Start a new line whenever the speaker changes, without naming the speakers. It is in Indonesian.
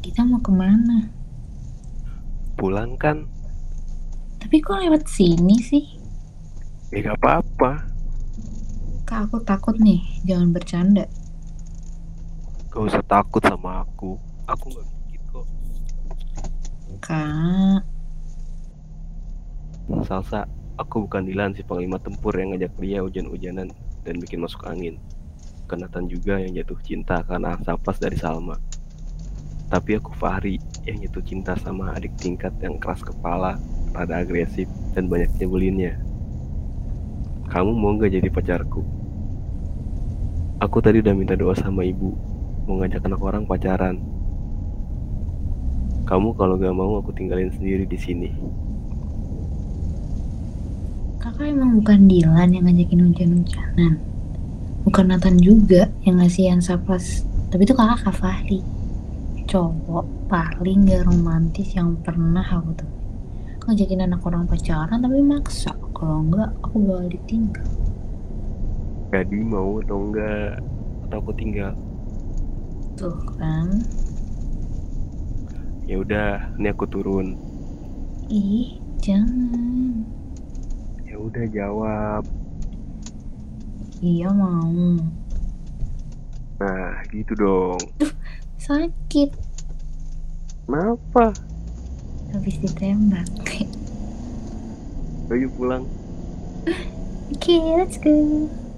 Kita mau kemana?
Pulang kan?
Tapi kok lewat sini sih?
Ya gak apa-apa.
Kak, aku takut nih. Jangan bercanda.
Gak usah takut sama aku. Aku gak gigit kok.
Kak,
Salsa, aku bukan Dilan si panglima tempur yang ngajak dia hujan-hujanan dan bikin masuk angin. Kenatan juga yang jatuh cinta karena asapas dari Salma. Tapi aku Fahri yang jatuh cinta sama adik tingkat yang keras kepala, rada agresif, dan banyak nyebelinnya. Kamu mau nggak jadi pacarku? Aku tadi udah minta doa sama ibu, mau ngajak anak orang pacaran. Kamu kalau gak mau aku tinggalin sendiri di sini.
kakak emang bukan Dilan yang ngajakin hujan-hujanan. Bukan Nathan juga yang ngasih ansaplas. Tapi itu kakak Kak Fahri. Cowok paling gak romantis yang pernah aku tuh. Ngajakin anak orang pacaran tapi maksa. Kalau enggak, aku bakal ditinggal.
Jadi mau atau enggak? Atau aku tinggal?
Tuh kan.
Ya udah, ini aku turun.
Ih, jangan.
Ya udah jawab.
Iya mau.
Nah, gitu dong.
Sakit.
Kenapa?
Habis ditembak. Oke,
Ayo pulang.
let's go.